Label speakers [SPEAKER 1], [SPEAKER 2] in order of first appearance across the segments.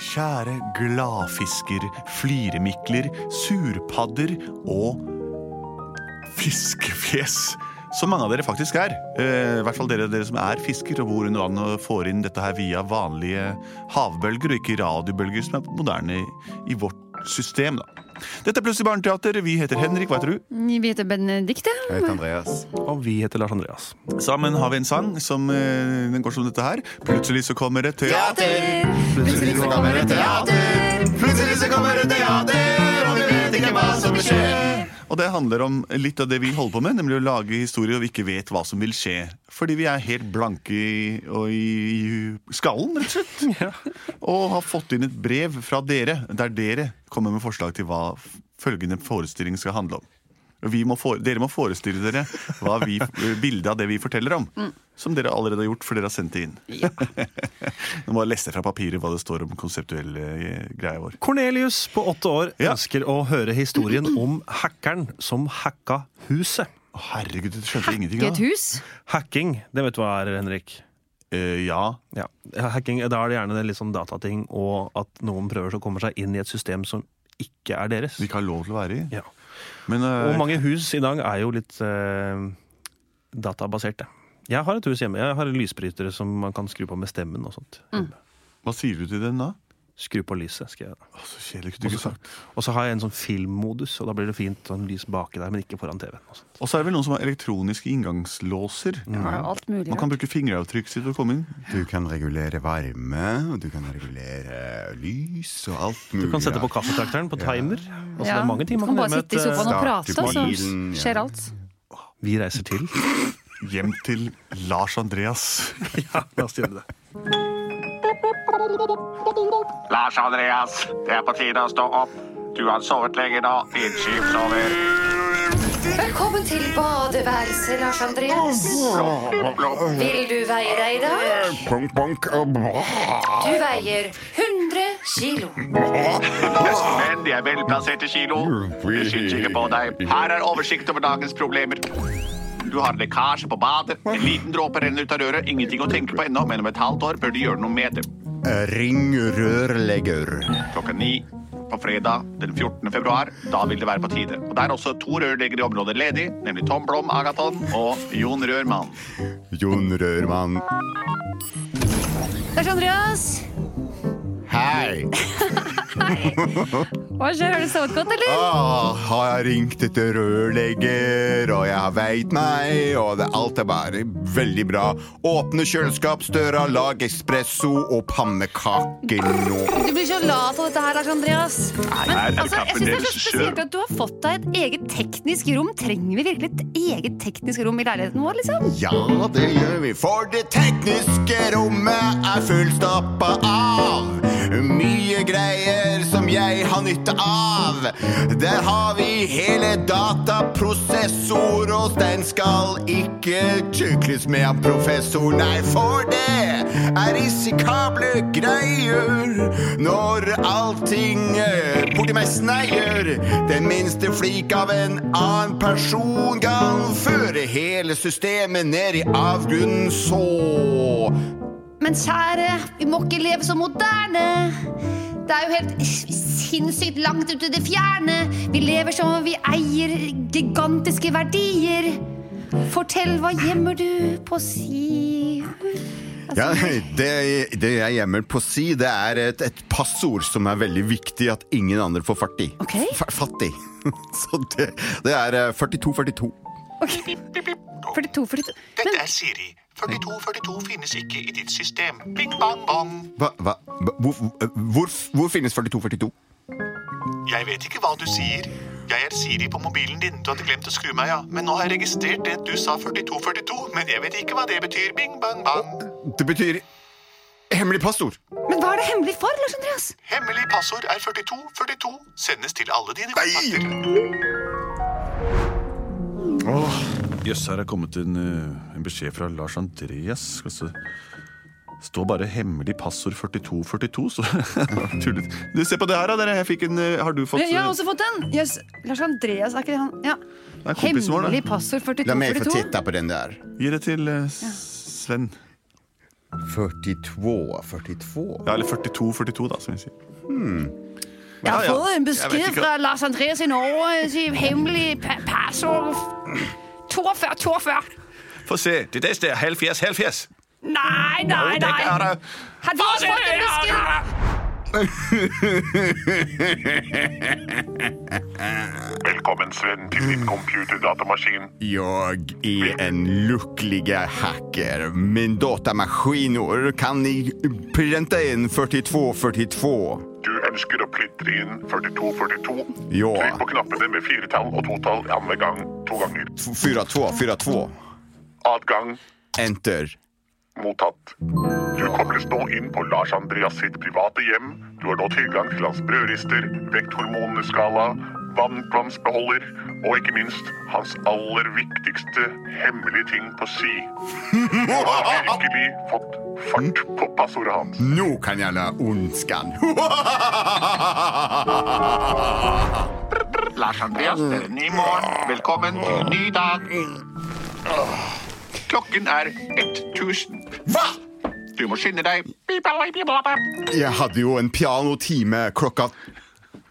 [SPEAKER 1] Kjære gladfisker, fliremikler, surpadder og fiskefjes. Som mange av dere faktisk er. Eh, I hvert fall dere, dere som er fisker og bor under vann og får inn dette her via vanlige havbølger og ikke radiobølger, som er moderne i vårt system. da. Dette er Plutselig barneteater. Vi heter Henrik, hva heter du?
[SPEAKER 2] Vi heter Benedikte.
[SPEAKER 3] Jeg heter Andreas.
[SPEAKER 4] Og vi heter Lars Andreas.
[SPEAKER 1] Sammen har vi en sang som eh, den går som dette her. Plutselig så kommer et teater.
[SPEAKER 3] Plutselig så kommer det teater. Plutselig så kommer det teater, og vi vet ikke hva som vil skje.
[SPEAKER 1] Og det handler om litt av det vi holder på med, nemlig å lage historier og vi ikke vet hva som vil skje. Fordi vi er helt blanke i, og i, i skallen, rett og slett. Og har fått inn et brev fra dere, der dere kommer med forslag til hva f- følgende forestilling skal handle om. Og Vi må fore, dere må forestille dere hva vi, bildet av det vi forteller om. Som dere allerede har gjort, for dere har sendt det inn. Nå må jeg lese fra papiret hva det står om konsertuelle eh, greia vår.
[SPEAKER 4] Cornelius på åtte år
[SPEAKER 1] Ja.
[SPEAKER 4] ønsker å høre historien om hackeren som hacka huset.
[SPEAKER 1] Å, Herregud, du skjønte ingenting
[SPEAKER 2] Et
[SPEAKER 1] av
[SPEAKER 2] hus.
[SPEAKER 4] Hacking, det vet du hva er, Henrik?
[SPEAKER 1] Eh, ja.
[SPEAKER 4] Ja, hacking, Da er det gjerne det litt sånn datating, og at noen prøver å komme seg inn i et system som ikke er deres.
[SPEAKER 1] Vi ikke har lov til å være i.
[SPEAKER 4] Ja.
[SPEAKER 1] Men eh,
[SPEAKER 4] Og mange hus i dag er jo litt eh, databaserte. Jeg har et hus hjemme. Jeg har lysbrytere som man kan skru på med stemmen og sånt.
[SPEAKER 1] hva sier du til den da?
[SPEAKER 4] Skru på lyset, skal jeg da.
[SPEAKER 1] Å, så kjedelig kunne du ikke sagt.
[SPEAKER 4] Og så har jeg en sånn filmmodus, og da blir det fint sånn lys baki der, men ikke foran TV-en. altså. og sånt.
[SPEAKER 1] Og så er det vel noen som har elektroniske inngangslåser.
[SPEAKER 2] Ja, alt mulig.
[SPEAKER 1] Man kan bruke fingeravtrykk sitt til å komme inn.
[SPEAKER 3] Du kan regulere varme, og du kan regulere lys og alt mulig.
[SPEAKER 4] Du kan sette på kaffetrakteren på timer. Altså, det er mange ting
[SPEAKER 2] Du
[SPEAKER 4] man
[SPEAKER 2] kan
[SPEAKER 4] kan
[SPEAKER 2] bare
[SPEAKER 4] gjøre med
[SPEAKER 2] sitte i
[SPEAKER 4] et,
[SPEAKER 2] sofaen og
[SPEAKER 3] start
[SPEAKER 2] prate,
[SPEAKER 3] i
[SPEAKER 2] og så
[SPEAKER 3] bilen, ja.
[SPEAKER 2] skjer alt.
[SPEAKER 4] eh, Vi reiser til.
[SPEAKER 1] Hjem til Lars Andreas.
[SPEAKER 4] ja, la oss gjøre det.
[SPEAKER 5] Lars Andreas, det er på tide å stå opp. Du har sovet lenge nå. Din skip sover.
[SPEAKER 6] Velkommen til badeværelset, Lars Andreas. Vil du veie deg i dag? Du veier 100 kilo.
[SPEAKER 5] Men de er velplasserte kilo. Det skyter ikke på deg. Her er oversikt over dagens problemer. Du har lekkasje på badet. En liten dråpe renner ut av røret. Ingenting å tenke på ennå, men om et halvt år bør du gjøre noe med det.
[SPEAKER 3] Ring rørlegger.
[SPEAKER 5] Klokka ni på fredag den 14. februar. Da vil det være på tide. Og Det er også to rørleggere i området ledig, nemlig Tom Blom Agaton og Jon Rørmann.
[SPEAKER 3] Jon Rørmann.
[SPEAKER 2] Lars Andreas,
[SPEAKER 3] Hei!
[SPEAKER 2] hva skjer? Har du sovet godt, eller?
[SPEAKER 3] Ah, har jeg ringt etter rørlegger, og jeg har veit meg, og det, alt er bare veldig bra. Åpne kjøleskapsdøra, lag espresso og pannekaker nå.
[SPEAKER 2] Du blir så lat av dette her, Lars Andreas. Men
[SPEAKER 5] her er det
[SPEAKER 2] altså, jeg
[SPEAKER 5] kaffen
[SPEAKER 2] synes det er så
[SPEAKER 5] deres
[SPEAKER 2] spesielt
[SPEAKER 5] selv.
[SPEAKER 2] at du har fått deg et eget teknisk rom. Trenger vi virkelig et eget teknisk rom i leiligheten vår, liksom?
[SPEAKER 3] Ja, det gjør vi, for det tekniske rommet er fullstappa av mye greier som jeg har nytte av. Der har vi hele dataprosessor, og den skal ikke tykles med av professor, nei, for det er risikable greier når allting eh, borti meg sneier. Den minste flik av en annen person kan føre hele systemet ned i avgrunnen, så
[SPEAKER 6] Men kjære, vi må ikke leve så moderne. Det er jo helt sinnssykt langt ut i det fjerne. Vi lever som om vi eier gigantiske verdier. Fortell, hva gjemmer du på si?
[SPEAKER 3] Ja, det, det jeg gjemmer på å si, det er et, et passord som er veldig viktig at ingen andre får fatt i.
[SPEAKER 2] Ok.
[SPEAKER 3] Fa- Fattig. Så det, det er eh, 4242.
[SPEAKER 2] 42, 42.
[SPEAKER 5] Dette er Siri. 4242 finnes ikke i ditt system. Bing, bang, bang.
[SPEAKER 3] Hva, hva, hvor, hvor, hvor finnes 4242?
[SPEAKER 5] Jeg vet ikke hva du sier. Jeg er Siri på mobilen din. Du hadde glemt å skru meg av. Men nå har jeg registrert det at du sa 4242. Men jeg vet ikke hva det betyr. Bing, bang, bang.
[SPEAKER 3] Det betyr hemmelig passord.
[SPEAKER 2] Men hva er det hemmelig for, Lars Andreas?
[SPEAKER 5] Hemmelig passord er 4242. Sendes til alle dine kontakter.
[SPEAKER 1] Jøss, her er kommet en, eh, en beskjed fra Lars Andreas. Skal se. Står bare 'hemmelig passord 4242', så tullet. Du, se på det her, da. Dere. Jeg fikk en, eh, har du fått
[SPEAKER 2] Jeg
[SPEAKER 1] eh,
[SPEAKER 2] har også fått den! Jøss, Lars Andreas, er ikke det han? Ja.
[SPEAKER 1] Det er kompisen vår,
[SPEAKER 2] Hemmelig
[SPEAKER 1] det.
[SPEAKER 2] passord
[SPEAKER 3] La meg få
[SPEAKER 2] 4242.
[SPEAKER 3] titte på den der.
[SPEAKER 1] Gi det til eh, Sven.
[SPEAKER 3] 42 42
[SPEAKER 1] Ja, eller 42-42, da, som vi sier.
[SPEAKER 2] Jeg har
[SPEAKER 1] Hmm. Ja, ja.
[SPEAKER 2] fått en
[SPEAKER 1] Jeg
[SPEAKER 2] beskjed
[SPEAKER 1] vet ikke.
[SPEAKER 2] fra Lars Andreas i Norge til hemmelig pa- passord 42, 42.
[SPEAKER 5] Få se. Det neste er 70 70.
[SPEAKER 2] Nei, nei,
[SPEAKER 5] det
[SPEAKER 2] nei.
[SPEAKER 5] er det.
[SPEAKER 2] Har vi fått en beskjed?
[SPEAKER 7] Velkommen, Sven, til din computerdatamaskin.
[SPEAKER 3] Jag är en lycklig hacker. Min datamaskinor kan ni printa in 42 42.
[SPEAKER 7] Du ønsker å plintre inn 4242.
[SPEAKER 3] Ja.
[SPEAKER 7] Trykk på knappene med firetall og totall andre gang to ganger.
[SPEAKER 3] 42 42.
[SPEAKER 7] Adgang
[SPEAKER 3] Enter.
[SPEAKER 7] mottatt. Du kobles nå inn på Lars Andreas sitt private hjem. Du har nå tilgang til hans brødrister, vekthormonenes skala, vannkvamsbeholder og ikke minst hans aller viktigste hemmelige ting på si. Du har virkelig fått fart på passordet hans.
[SPEAKER 3] Nu kan jag la ondskan.
[SPEAKER 5] Lars Andreas, det er
[SPEAKER 2] Mm.
[SPEAKER 5] en ny morgen. Velkommen til en ny dag. Klokken er 1000.
[SPEAKER 3] Va?
[SPEAKER 5] Du må skynde deg.
[SPEAKER 3] Jag hade ju en pianotime klockan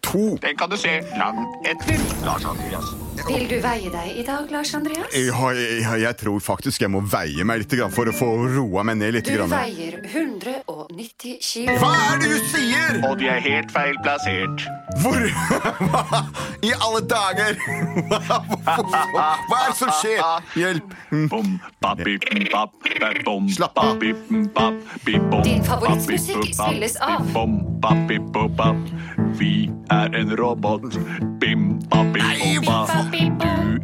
[SPEAKER 3] två.
[SPEAKER 5] Den kan du se langt etter, Lars Andreas.
[SPEAKER 6] Vil du veie deg i dag, Lars Andreas?
[SPEAKER 3] Jag, jag, jag tror faktiskt jag må väja mig lite grann för att få roa mig ner lite
[SPEAKER 6] Du
[SPEAKER 3] grann.
[SPEAKER 6] veier 190 kilo.
[SPEAKER 3] Vad är det du säger?
[SPEAKER 5] Og de er helt feil plassert.
[SPEAKER 3] Hvor Hva i alle dager? Hva, hva er det som skjer? Hjelp!
[SPEAKER 5] Bom, bap, bip, bap, bap, bom,
[SPEAKER 3] Slapp
[SPEAKER 5] bap,
[SPEAKER 3] av.
[SPEAKER 5] bip, bap, bip, bom,
[SPEAKER 6] Din
[SPEAKER 5] bap,
[SPEAKER 6] favorittmusikk
[SPEAKER 5] bip, bap,
[SPEAKER 6] spilles
[SPEAKER 5] bip,
[SPEAKER 6] av.
[SPEAKER 5] Bom, bap, bip, bop, bap. Vi er en robot. Bim, bap, bip, bop, bap.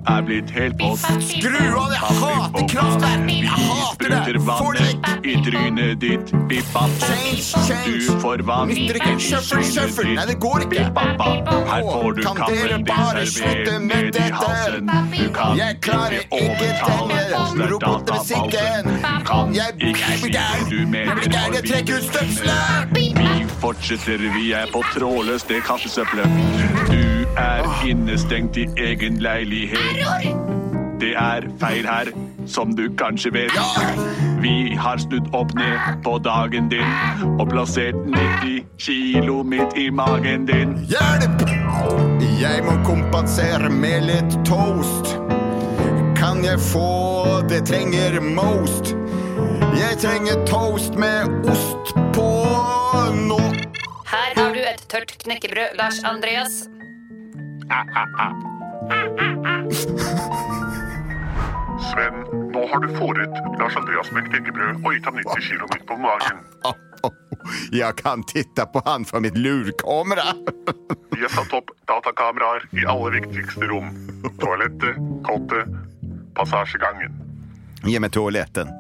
[SPEAKER 5] Du er blitt helt våt.
[SPEAKER 3] Skru av! Jeg hater kraftverk! Jeg hater det!
[SPEAKER 5] Sprøyter
[SPEAKER 3] Få det vekk!
[SPEAKER 5] vannet i trynet ditt. Bippa.
[SPEAKER 3] Change, change.
[SPEAKER 5] Du får vann
[SPEAKER 3] Nytter ikke.
[SPEAKER 5] i
[SPEAKER 3] Shuffle,
[SPEAKER 5] trynet
[SPEAKER 3] shuffle.
[SPEAKER 5] ditt.
[SPEAKER 3] Nei, det går ikke.
[SPEAKER 5] Bippa. Her får du
[SPEAKER 3] Kan dere
[SPEAKER 5] kaffen
[SPEAKER 3] bare
[SPEAKER 5] din
[SPEAKER 3] slutte
[SPEAKER 5] servert
[SPEAKER 3] med
[SPEAKER 5] ned i
[SPEAKER 3] dette?
[SPEAKER 5] halsen. Du kan
[SPEAKER 3] Jeg klarer
[SPEAKER 5] ikke
[SPEAKER 3] ikke
[SPEAKER 5] overtale
[SPEAKER 3] denne
[SPEAKER 5] oss. Det er
[SPEAKER 3] robotmusikken.
[SPEAKER 5] databasen. Du kan
[SPEAKER 3] Jeg
[SPEAKER 5] ikke
[SPEAKER 3] blir
[SPEAKER 5] si
[SPEAKER 3] gæren.
[SPEAKER 5] du mener
[SPEAKER 3] Jeg blir gæren.
[SPEAKER 5] når
[SPEAKER 3] Jeg
[SPEAKER 5] vi
[SPEAKER 3] trekker ut støvselen!
[SPEAKER 5] vi fortsetter, vi er på trådløst, det kaffesøppelet. Du er innestengt i egen leilighet. Det er feil her, som du kanskje vet. Vi har snudd opp ned på dagen din og plassert 90 kilo midt i magen din.
[SPEAKER 3] Hjelp! Jeg må kompensere med litt toast. Kan jeg få det trenger most? Jeg trenger toast med ost på nå.
[SPEAKER 6] Her har du et tørt knekkebrød, Lars Andreas.
[SPEAKER 7] Sven, nå har du fôret Lars Andreas med knekkebrød og gitt ham 90 kilo midt på magen.
[SPEAKER 3] Jeg kan titta på han fra mitt lurkamera.
[SPEAKER 7] Vi har satt opp datakameraer i alle viktigste rom. Toalettet, kottet, passasjegangen.
[SPEAKER 3] Gi meg toaletten.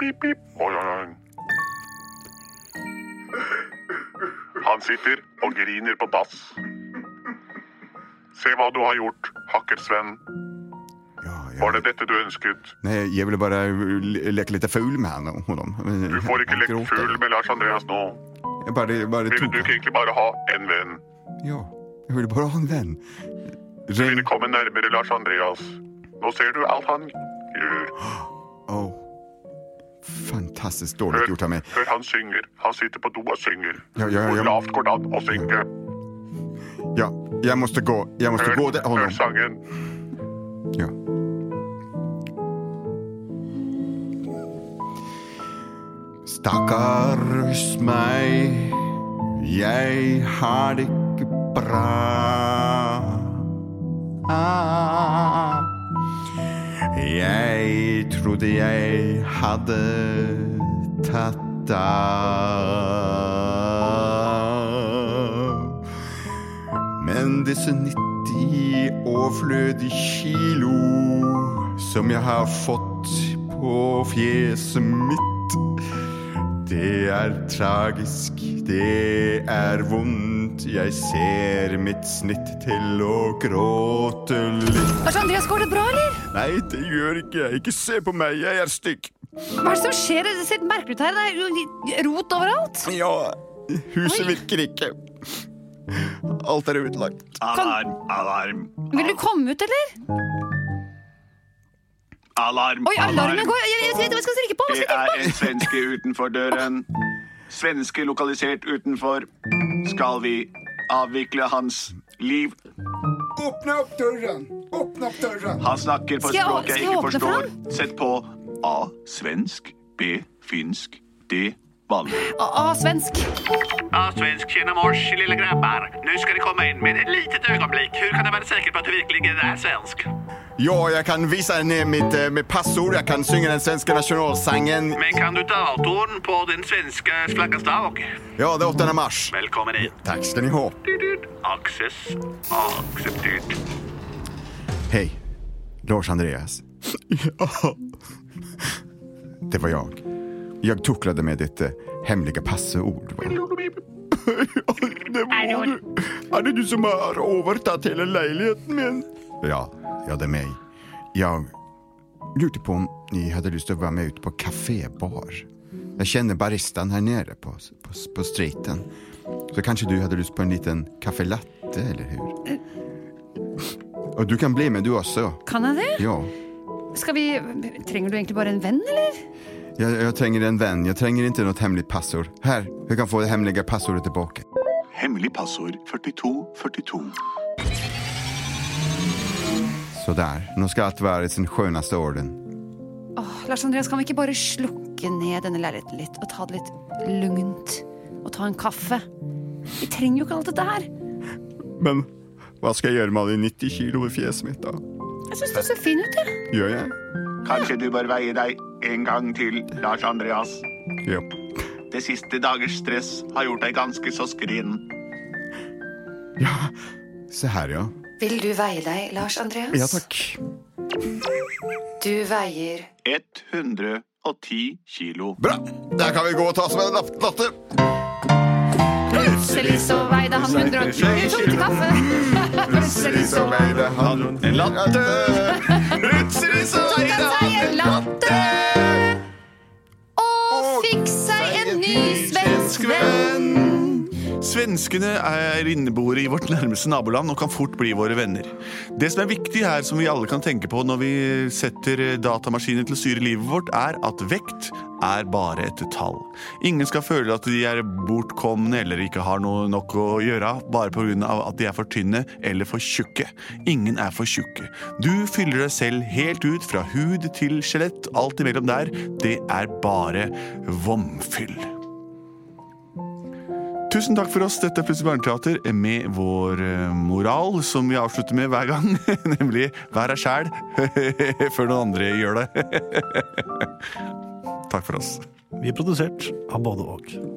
[SPEAKER 7] Pip, pip. Oi, oi, oi. Han sitter og griner på dass. Se hva du har gjort, Hakker-Sven.
[SPEAKER 3] Ja, ja.
[SPEAKER 7] Var det dette du ønsket?
[SPEAKER 3] Nej, jag ville bara le- leka lite ful med han- honom.
[SPEAKER 7] Du får ikke lekt fugl med Lars Andreas nå.
[SPEAKER 3] Jag bara, bara
[SPEAKER 7] Ville
[SPEAKER 3] tog
[SPEAKER 7] du ikke egentlig bare ha en venn?
[SPEAKER 3] Ja, jag ville bara ha en vän.
[SPEAKER 7] Du
[SPEAKER 3] Ring...
[SPEAKER 7] ville komme nærmere Lars Andreas. Nå ser du alt han eh, gjør.
[SPEAKER 3] Oh. Fantastiskt dåligt gjort av
[SPEAKER 7] Hør,
[SPEAKER 3] mig.
[SPEAKER 7] hør han synger. Han sitter på do og synger.
[SPEAKER 3] Ja, ja, ja.
[SPEAKER 7] Hvor lavt går det an å synge?
[SPEAKER 3] Ja, jag måste gå. Jag måste gå
[SPEAKER 7] Hør,
[SPEAKER 3] där. Honom.
[SPEAKER 7] hør sangen.
[SPEAKER 3] Ja. Stakkars meg, jeg har det ikke bra. Ah. Jeg trodde jeg hadde tatt av. Men disse 90 overflødige kilo som jeg har fått på fjeset mitt, det er tragisk, det er vondt. Jeg ser mitt snitt til å gråte litt.
[SPEAKER 2] Lars Andreas, går det bra, eller?
[SPEAKER 3] Nei, det gjør ikke jeg. Ikke se på meg, jeg er stygg.
[SPEAKER 2] Hva er det som skjer? Det ser merkelig ut her. Det er jo rot overalt.
[SPEAKER 3] Ja, huset
[SPEAKER 2] Oi.
[SPEAKER 3] virker ikke. Alt er
[SPEAKER 2] Sånn.
[SPEAKER 3] utlagt.
[SPEAKER 5] Alarm, alarm.
[SPEAKER 2] Vil du komme ut, eller?
[SPEAKER 5] Alarm!
[SPEAKER 2] Oi, alarmen går! Jeg jeg vet ikke hva jeg skal trykke på! Hva
[SPEAKER 5] Det
[SPEAKER 2] skal jeg
[SPEAKER 5] er et
[SPEAKER 2] trykke på?
[SPEAKER 5] svenske utenfor døren. Svenske lokalisert utenfor. Skal vi avvikle hans liv?
[SPEAKER 8] Åpne opp døren! Åpne opp døren!
[SPEAKER 5] Han snakker på
[SPEAKER 2] Skal jeg-
[SPEAKER 5] et språk
[SPEAKER 2] skal
[SPEAKER 5] jeg
[SPEAKER 2] jeg
[SPEAKER 5] ikke
[SPEAKER 2] åpne for
[SPEAKER 5] forstår. Sett på A. Svensk. B. Finsk. D. Vanlig.
[SPEAKER 2] Å, å, svensk.
[SPEAKER 5] A. Svensk. Tjena mors, lille grabbar. Nå skal dere komme inn, men et lite øyeblikk. Hvordan kan dere være sikre på at du virkelig er svensk?
[SPEAKER 3] Jo, jeg kan vise henne mitt eh, med passord. Jeg kan synge den svenske nasjonalsangen.
[SPEAKER 5] Men kan du datoen på den svenske flaggas dag?
[SPEAKER 3] Ja, det er 8. mars.
[SPEAKER 5] Velkommen hit.
[SPEAKER 3] Takk skal ni ha.
[SPEAKER 5] Aksess akseptert.
[SPEAKER 3] Hej, Lars Andreas. Ja. Det var jag. Jag tucklade med ditt eh, hemliga passord. Va? Ja, det var du. Er det du som har overtatt hele leiligheten min? Ja, ja, det er meg. Jeg lurte på om ni hadde lyst til å være med ut på kafébar. Jeg kjenner baristan her nede på, på, på streeten. Så kanskje du hadde lyst på en liten caffè latte, eller hur? Og du kan bli med du også.
[SPEAKER 2] Kan jeg det?
[SPEAKER 3] Ja.
[SPEAKER 2] Skal vi Trenger du egentlig bare en venn, eller?
[SPEAKER 3] Jeg, jeg trenger en venn. Jeg trenger ikke noe hemmelig passord. Her, jeg kan få det hemmelige passordet tilbake.
[SPEAKER 5] Hemmelig passord 4242.
[SPEAKER 3] Så der. Nå skal alt være i sin skjønneste orden.
[SPEAKER 2] Åh, Lars Andreas, kan vi ikke bare slukke ned denne leiligheten litt og ta det litt lugnt? Og ta en kaffe? Vi trenger jo ikke alt dette her.
[SPEAKER 3] Men hva skal jeg gjøre med alle de 90 kilo i fjeset mitt, da?
[SPEAKER 2] Jeg syns du ser fin ut, jeg.
[SPEAKER 3] Gjør jeg?
[SPEAKER 5] Kanskje du bør veie deg en gang til, Lars Andreas.
[SPEAKER 3] Ja.
[SPEAKER 5] Det siste dagers stress har gjort deg ganske så skrin.
[SPEAKER 3] Se her, ja.
[SPEAKER 9] Vil du veie deg, Lars Andreas?
[SPEAKER 3] Ja takk.
[SPEAKER 9] Du veier
[SPEAKER 5] 110 kilo.
[SPEAKER 3] Bra! Der kan vi gå og ta oss med en lapp- latte.
[SPEAKER 2] Plutselig så veide han 120 tok til kaffe.
[SPEAKER 3] Plutselig så veide han en latte. Plutselig så veide
[SPEAKER 2] seg en latte. Og fikk seg en ny svensk venn.
[SPEAKER 1] Svenskene er inneboere i vårt nærmeste naboland og kan fort bli våre venner. Det som er viktig her, som vi alle kan tenke på når vi setter datamaskiner til å styre livet vårt, er at vekt er bare et tall. Ingen skal føle at de er bortkomne eller ikke har noe nok å gjøre bare pga. at de er for tynne eller for tjukke. Ingen er for tjukke. Du fyller deg selv helt ut fra hud til skjelett, alt imellom der. Det er bare vomfyll. Tusen takk for oss. Dette er Plutselig barneteater med vår eh, moral, som vi avslutter med hver gang. Nemlig vær deg sjæl før noen andre gjør det. takk for oss.
[SPEAKER 4] Vi er produsert av både og.